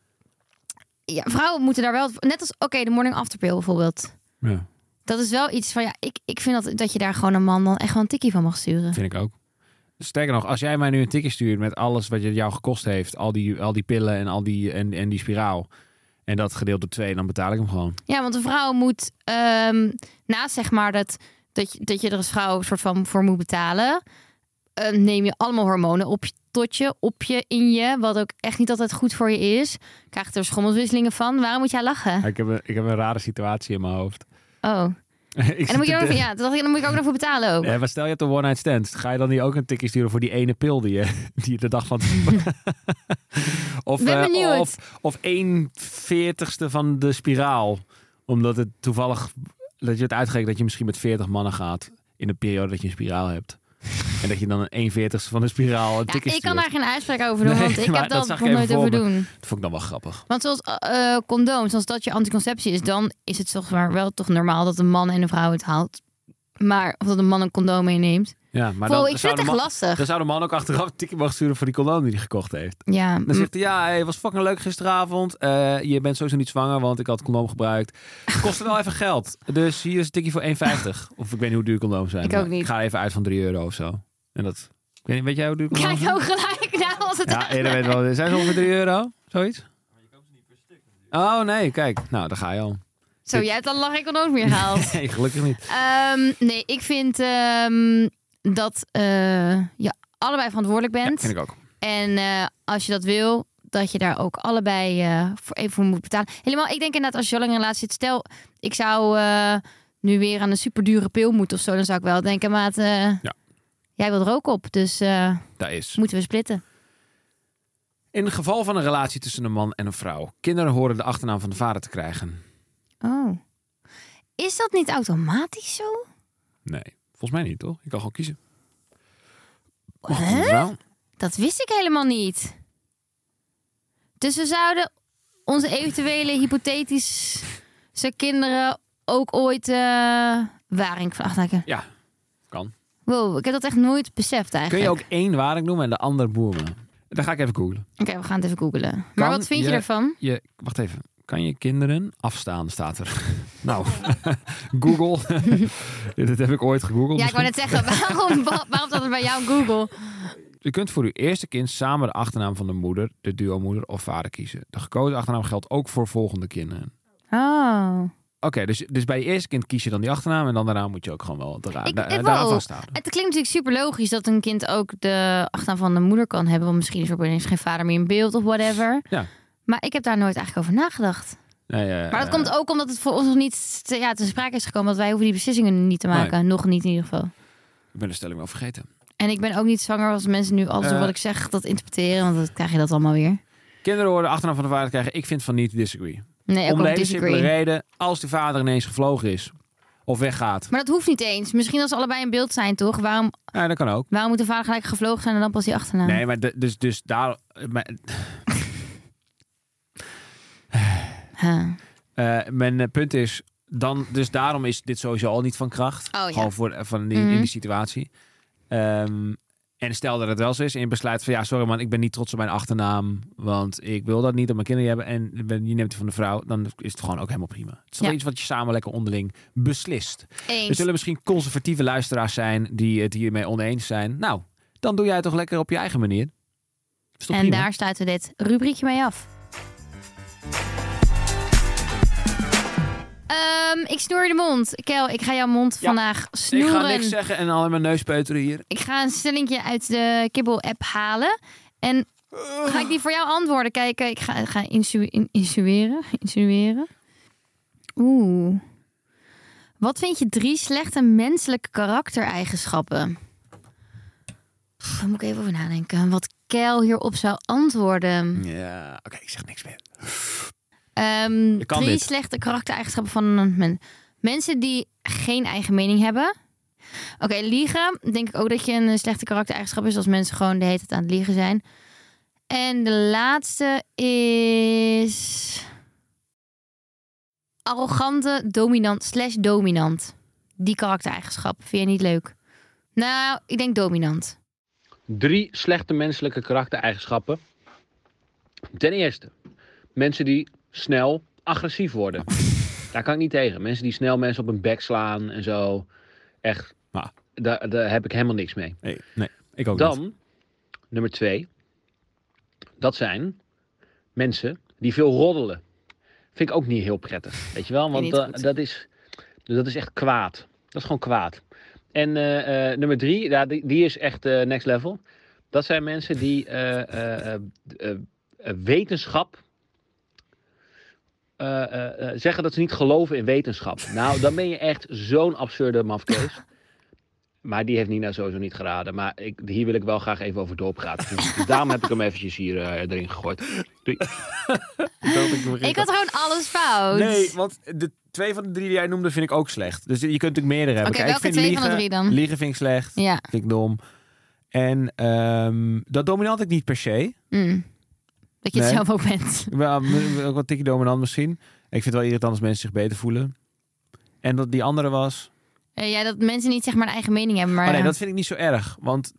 Speaker 3: ja, vrouwen moeten daar wel... Net als, oké, de morning after pill bijvoorbeeld.
Speaker 2: Ja,
Speaker 3: Dat is wel iets van, ja, ik, ik vind dat, dat je daar gewoon een man dan echt wel een tikkie van mag sturen.
Speaker 2: vind ik ook. Sterker nog, als jij mij nu een tikje stuurt met alles wat je jou gekost heeft, al die, al die pillen en, al die, en, en die spiraal, en dat gedeeld door twee, dan betaal ik hem gewoon.
Speaker 3: Ja, want een vrouw moet, ehm, naast zeg maar dat, dat, je, dat je er als vrouw soort van voor moet betalen, eh, neem je allemaal hormonen op je, tot je, op je, in je, wat ook echt niet altijd goed voor je is. Krijgt er schommelwisselingen van. Waarom moet jij lachen?
Speaker 2: Ik heb, een, ik heb een rare situatie in mijn hoofd.
Speaker 3: Oh, en
Speaker 2: en
Speaker 3: dan moet, je ook, nog- ja, dan dacht ik, dan moet ik ook nog voor betalen ook.
Speaker 2: maar stel je hebt een one-night stand. Ga je dan niet ook een tikje sturen voor die ene pil die je, die je de dag van... of,
Speaker 3: Ben
Speaker 2: eh,
Speaker 3: benieuwd.
Speaker 2: of, of 1 veertigste van de spiraal. Omdat het toevallig... Dat je het uitgerekend dat je misschien met 40 mannen gaat. In de periode dat je een spiraal hebt. En dat je dan een 1 veertigste van de spiraal een
Speaker 3: Ja,
Speaker 2: tikje
Speaker 3: ik kan
Speaker 2: stuurt.
Speaker 3: daar geen uitspraak over doen,
Speaker 2: Nee,
Speaker 3: want ik
Speaker 2: maar
Speaker 3: heb
Speaker 2: dat
Speaker 3: dat,
Speaker 2: zag ik
Speaker 3: nog
Speaker 2: even
Speaker 3: nooit
Speaker 2: voor
Speaker 3: over
Speaker 2: me.
Speaker 3: doen.
Speaker 2: Dat vond ik dan wel grappig.
Speaker 3: Want zoals eh, eh, condooms, als dat je anticonceptie is, dan is het zeg maar wel toch normaal dat een man en een vrouw het haalt. Maar of dat een man een condoom meeneemt.
Speaker 2: Ja, maar
Speaker 3: Wow,
Speaker 2: dan, zou
Speaker 3: ik vind
Speaker 2: de
Speaker 3: het echt
Speaker 2: man-
Speaker 3: lastig.
Speaker 2: Dan zou de man ook achteraf een tikje mogen sturen voor die condoom die hij gekocht heeft.
Speaker 3: Ja,
Speaker 2: Dan
Speaker 3: m-
Speaker 2: zegt hij, ja, hey, was fucking leuk gisteravond. Eh, je bent sowieso niet zwanger, want ik had condoom gebruikt. Kostte wel even geld. Dus hier is een tikje voor 1,50. Of ik weet niet hoe duur condooms zijn.
Speaker 3: Ik ook
Speaker 2: maar
Speaker 3: niet.
Speaker 2: Ik ga even uit van 3 euro of zo. En dat, ik weet, niet, weet jij hoe duur condooms
Speaker 3: kijk
Speaker 2: zijn?
Speaker 3: ook gelijk. Nou was het
Speaker 2: Ja,
Speaker 3: echt-
Speaker 2: eerder weet wel. Zijn ze ongeveer 3 euro? Zoiets? Oh nee, kijk. Nou, daar ga je al.
Speaker 3: Zo, jij hebt al lang geen condooms meer gehaald.
Speaker 2: Nee, gelukkig niet.
Speaker 3: Ehm, nee, ik vind ehm, dat eh, je allebei verantwoordelijk bent.
Speaker 2: Vind ik ook.
Speaker 3: En eh, als je dat wil, dat je daar ook allebei eh, voor even voor moet betalen. Helemaal, ik denk inderdaad, als je zo lang in een relatie zit, stel, ik zou eh, nu weer aan een superdure pil moeten of zo, dan zou ik wel denken, maat, eh, jij wilt er ook op, dus eh,
Speaker 2: Daar is.
Speaker 3: moeten we splitten.
Speaker 2: In het geval van een relatie tussen een man en een vrouw. Kinderen horen de achternaam van de vader te krijgen.
Speaker 3: Oh. Is dat niet automatisch zo?
Speaker 2: Nee, volgens mij niet, toch? Je kan gewoon kiezen.
Speaker 3: Hè?
Speaker 2: Nou,
Speaker 3: Dat wist ik helemaal niet. Dus we zouden onze eventuele hypothetische kinderen ook ooit eh waring van aftrekken.
Speaker 2: ja, kan.
Speaker 3: Wow, ik heb dat echt nooit beseft
Speaker 2: Kun
Speaker 3: eigenlijk.
Speaker 2: je ook één waring noemen en de ander boerman? Dan ga ik even googlen.
Speaker 3: Oké, we gaan het even googelen. Maar
Speaker 2: Kan
Speaker 3: wat vind je,
Speaker 2: je-
Speaker 3: ervan?
Speaker 2: Je, wacht even. Kan je kinderen afstaan, staat er. Nou, Google. Dit heb ik ooit gegoogeld.
Speaker 3: Ja, ik wou net zeggen, waarom, wa- waarom dat er bij jou Google?
Speaker 2: U kunt voor uw eerste kind samen de achternaam van de moeder, de duomoeder of vader kiezen. De gekozen achternaam geldt ook voor volgende kinderen.
Speaker 3: Oh.
Speaker 2: Oké, dus, dus bij je eerste kind kies je dan die achternaam en dan daarna moet je ook gewoon wel dara-
Speaker 3: Ik,
Speaker 2: da-
Speaker 3: ik
Speaker 2: daaraan
Speaker 3: wou-
Speaker 2: vasthouden.
Speaker 3: Het klinkt natuurlijk super logisch dat een kind ook de achternaam van de moeder kan hebben. Want misschien is er opeens geen vader meer in beeld of whatever.
Speaker 2: Ja.
Speaker 3: Maar ik heb daar nooit eigenlijk over nagedacht.
Speaker 2: Nee, eh,
Speaker 3: Maar dat
Speaker 2: eh,
Speaker 3: komt ook omdat het voor ons nog niet te, ja, te sprake is gekomen. Want wij hoeven die beslissingen niet te maken. Nog niet in ieder geval.
Speaker 2: Ik ben de stelling wel vergeten.
Speaker 3: En ik ben ook niet zwanger als mensen nu alles door
Speaker 2: Eh.
Speaker 3: wat ik zeg dat interpreteren. Want dan krijg je dat allemaal weer.
Speaker 2: Kinderen horen de achternaam van de vader krijgen. Ik vind van niet disagree.
Speaker 3: Nee, ook
Speaker 2: Om de
Speaker 3: op
Speaker 2: hele simpele
Speaker 3: disagree.
Speaker 2: reden, als die vader ineens gevlogen is of weggaat.
Speaker 3: Maar dat hoeft niet eens. Misschien als ze allebei in beeld zijn, toch? Waarom,
Speaker 2: Ja, dat kan ook.
Speaker 3: waarom moet de vader gelijk gevlogen zijn en dan pas die achternaam?
Speaker 2: Nee, maar de- dus, dus daar... maar,
Speaker 3: Huh.
Speaker 2: eh, mijn eh, punt is, dan, dus daarom is dit sowieso al niet van kracht.
Speaker 3: Oh, ja.
Speaker 2: Gewoon voor, van die, in
Speaker 3: Mhm.
Speaker 2: die situatie. Ehm, en stel dat het wel zo is en je besluit van... Ja, sorry man, ik ben niet trots op mijn achternaam. Want ik wil dat niet op mijn kinderen hebben. En je neemt het van de vrouw. Dan is het gewoon ook helemaal prima. Het is toch
Speaker 3: Ja.
Speaker 2: iets wat je samen lekker onderling beslist. Er
Speaker 3: Eens.
Speaker 2: zullen misschien conservatieve luisteraars zijn die het hiermee oneens zijn. Nou, dan doe jij het toch lekker op je eigen manier. Is toch
Speaker 3: En
Speaker 2: prima?
Speaker 3: daar sluiten we dit rubriekje mee af. Ehm, ik snoer de mond. Kel, ik ga jouw mond
Speaker 2: Ja.
Speaker 3: vandaag
Speaker 2: Ik
Speaker 3: snoeren.
Speaker 2: ga niks zeggen en alleen mijn neus peuteren hier.
Speaker 3: Ik ga een stellingje uit de kibbel-app halen. En ga ik die voor jou antwoorden? Kijken, ik ga, ga insu- in- insinueren. insinueren. Oeh. Wat vind je drie slechte menselijke karaktereigenschappen? Pff, Daar moet ik even over nadenken. Wat Kel hierop zou antwoorden.
Speaker 2: Ja, oké, ik zeg niks meer.
Speaker 3: Ehm,
Speaker 2: Je kan
Speaker 3: drie
Speaker 2: dit.
Speaker 3: slechte karaktereigenschappen van een men. mensen die geen eigen mening hebben. Oké, liegen. Denk ik ook dat je een slechte karaktereigenschap is als mensen gewoon de hele tijd aan het liegen zijn. En de laatste is arrogante, dominant slash dominant. Die karaktereigenschap vind je niet leuk. Nou, ik denk dominant.
Speaker 4: drie slechte menselijke karaktereigenschappen. Ten eerste, mensen die snel agressief worden. Daar kan ik niet tegen. Mensen die snel mensen op hun bek slaan en zo. Echt,
Speaker 2: Maar-
Speaker 4: daar, daar heb ik helemaal niks mee.
Speaker 2: Nee, nee ik ook niet.
Speaker 4: Dan, nummer twee. Dat zijn mensen die veel roddelen. Vind ik ook niet heel prettig. Weet je wel? Want
Speaker 3: niet
Speaker 4: da-
Speaker 3: goed.
Speaker 4: dat, is, dus dat is echt kwaad. Dat is gewoon kwaad. En eh, eh, nummer drie, ja, die, die is echt eh, next level. Dat zijn mensen die eh, eh, eh, eh, eh, wetenschap. eh, eh, eh, zeggen dat ze niet geloven in wetenschap. Nou, dan ben je echt zo'n absurde mafkees. Maar die heeft Nina sowieso niet geraden. Maar ik, hier wil ik wel graag even over doorpraten. Dus daarom heb ik hem eventjes hier eh, erin gegooid. Doei.
Speaker 3: Ik had gewoon alles fout.
Speaker 2: Nee, want de twee van de drie die jij noemde vind ik ook slecht. Dus je kunt natuurlijk meerdere hebben.
Speaker 3: Oké,
Speaker 2: Kijk, ik
Speaker 3: welke
Speaker 2: vind
Speaker 3: twee van
Speaker 2: liegen,
Speaker 3: de drie dan?
Speaker 2: Liegen vind ik slecht.
Speaker 3: Ja.
Speaker 2: Vind ik dom. En ehm, dat dominant ik niet per se.
Speaker 3: Mm. Dat je het
Speaker 2: Nee.
Speaker 3: zelf ook bent.
Speaker 2: Wel, m- Ook wat tikkie dominant misschien. Ik vind het wel irritant als mensen zich beter voelen. En dat die andere was...
Speaker 3: Eh, ja, dat mensen niet zeg maar een eigen mening hebben. Maar eh,
Speaker 2: Maar Oh, nee, dat vind ik niet zo erg. Want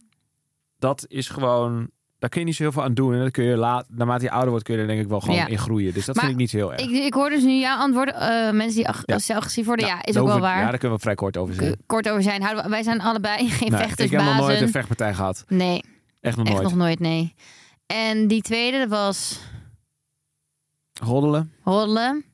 Speaker 2: dat is gewoon... Daar kun je niet zo heel veel aan doen. En dat kun je laat, naarmate je ouder wordt, kun je er denk ik wel gewoon
Speaker 3: Ja.
Speaker 2: in groeien. Dus dat
Speaker 3: Maar
Speaker 2: vind ik niet zo heel erg.
Speaker 3: ik, ik hoor dus nu jouw antwoorden. eh, mensen die ag-
Speaker 2: Ja.
Speaker 3: zelf agressief worden,
Speaker 2: Nou,
Speaker 3: ja, is
Speaker 2: daar
Speaker 3: ook wel
Speaker 2: hoef ik- Ja,
Speaker 3: waar.
Speaker 2: daar kunnen we vrij kort over zijn.
Speaker 3: Kort over zijn. Houden we- wij zijn allebei geen
Speaker 2: Nee,
Speaker 3: vechters,
Speaker 2: ik heb nog nooit
Speaker 3: bazen.
Speaker 2: een vechtpartij gehad.
Speaker 3: nee,
Speaker 2: Echt nog
Speaker 3: echt
Speaker 2: nooit.
Speaker 3: nog nooit, nee. En die tweede dat was
Speaker 2: Roddelen?
Speaker 3: roddelen.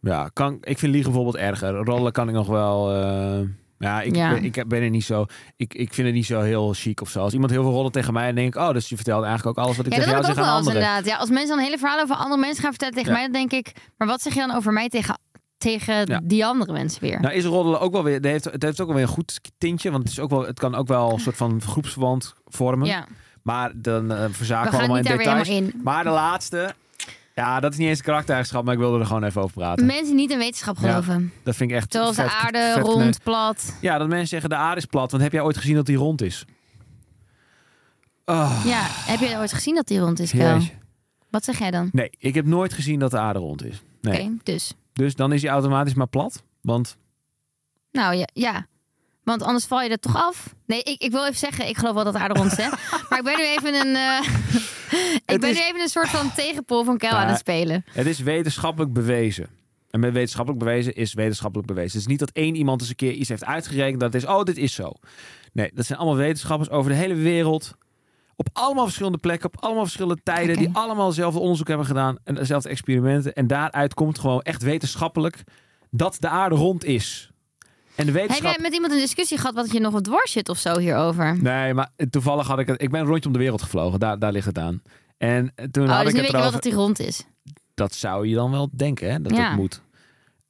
Speaker 2: Ja, kan, ik vind liegen bijvoorbeeld erger. Roddelen kan ik nog wel... eh, ja, ik,
Speaker 3: Ja.
Speaker 2: Ben, ik ben er niet zo... Ik, ik vind het niet zo heel chic of zo. Als iemand heel veel roddelt tegen mij, dan denk ik... Oh, dus je vertelt eigenlijk ook alles wat ik
Speaker 3: Ja, dat
Speaker 2: tegen jou
Speaker 3: heb ik ook
Speaker 2: zeg aan
Speaker 3: wel eens
Speaker 2: anderen.
Speaker 3: inderdaad. Ja, als mensen dan hele verhalen over andere mensen gaan vertellen tegen
Speaker 2: Ja.
Speaker 3: mij, dan denk ik, maar wat zeg je dan over mij tegen, tegen
Speaker 2: Ja.
Speaker 3: die andere mensen weer?
Speaker 2: Nou is roddelen ook wel weer... Het heeft, het heeft ook wel weer een goed tintje. Want het, is ook wel, het kan ook wel een soort van groepsverband vormen.
Speaker 3: ja,
Speaker 2: Maar dan eh, verzaken
Speaker 3: we
Speaker 2: we
Speaker 3: gaan
Speaker 2: allemaal
Speaker 3: niet
Speaker 2: in
Speaker 3: daar weer
Speaker 2: details.
Speaker 3: helemaal in.
Speaker 2: Maar de laatste... Ja, dat is niet eens een karaktereigenschap, maar ik wilde er gewoon even over praten.
Speaker 3: Mensen die niet in wetenschap
Speaker 2: Ja,
Speaker 3: geloven.
Speaker 2: dat vind ik echt
Speaker 3: Zoals de
Speaker 2: vet-
Speaker 3: aarde
Speaker 2: vet
Speaker 3: rond,
Speaker 2: kneu-
Speaker 3: plat.
Speaker 2: Ja, dat mensen zeggen de aarde is plat. Want heb jij ooit gezien dat die rond is? Ah,
Speaker 3: Ja, heb je ooit gezien dat die rond is, Kel?
Speaker 2: jeetje.
Speaker 3: Wat zeg jij dan?
Speaker 2: Nee, ik heb nooit gezien dat de aarde rond is. Nee.
Speaker 3: Oké, dus.
Speaker 2: Dus dan is die automatisch maar plat. Want
Speaker 3: Nou ja, ja. Want anders val je er toch af. Nee, ik, ik wil even zeggen, ik geloof wel dat de aarde rond is, hè. maar ik ben nu even een... eh, ik
Speaker 2: Het
Speaker 3: ben
Speaker 2: is-
Speaker 3: nu even een soort van tegenpol van Kel
Speaker 2: Ja.
Speaker 3: aan het spelen.
Speaker 2: het is wetenschappelijk bewezen. En met wetenschappelijk bewezen is wetenschappelijk bewezen. Het is niet dat één iemand eens een keer iets heeft uitgerekend dat het is, oh, dit is zo. Nee, dat zijn allemaal wetenschappers over de hele wereld. Op allemaal verschillende plekken, op allemaal verschillende tijden.
Speaker 3: Oké.
Speaker 2: Die allemaal hetzelfde onderzoek hebben gedaan. En dezelfde experimenten. En daaruit komt gewoon echt wetenschappelijk dat de aarde rond is. En de
Speaker 3: Heb
Speaker 2: wetenschap...
Speaker 3: jij met iemand een discussie gehad wat je nog wat dwars zit of zo hierover?
Speaker 2: Nee, maar toevallig had ik het. Ik ben rondje om de wereld gevlogen. Daar, daar ligt het aan. En toen
Speaker 3: Oh,
Speaker 2: had
Speaker 3: dus
Speaker 2: ik het
Speaker 3: nu weet je wel
Speaker 2: erover.
Speaker 3: dat die rond is.
Speaker 2: Dat zou je dan wel denken, hè? Dat
Speaker 3: Ja.
Speaker 2: dat moet.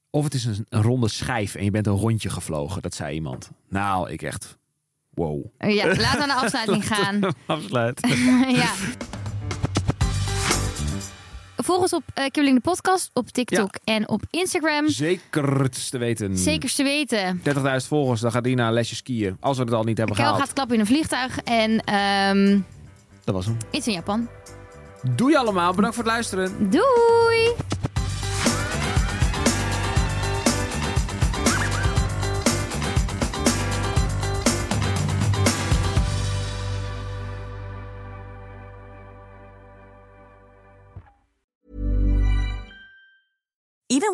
Speaker 2: Of het is een, een ronde schijf en je bent een rondje gevlogen. Dat zei iemand. Nou, ik echt. Wow.
Speaker 3: Oh Ja, laten we naar de afsluiting gaan.
Speaker 2: Afsluit.
Speaker 3: ja. Volg ons op eh Kibbeling de podcast op TikTok en op Instagram.
Speaker 2: Zeker het te weten.
Speaker 3: Zeker te weten.
Speaker 2: 30.000 volgers, dan gaat die naar een lesje skiën. Als we het al niet hebben
Speaker 3: Kel
Speaker 2: gehaald.
Speaker 3: gaat klappen in een vliegtuig en ehm,
Speaker 2: Dat was hem.
Speaker 3: iets in Japan.
Speaker 2: Doei allemaal. Bedankt voor het luisteren.
Speaker 3: Doei!
Speaker 5: Even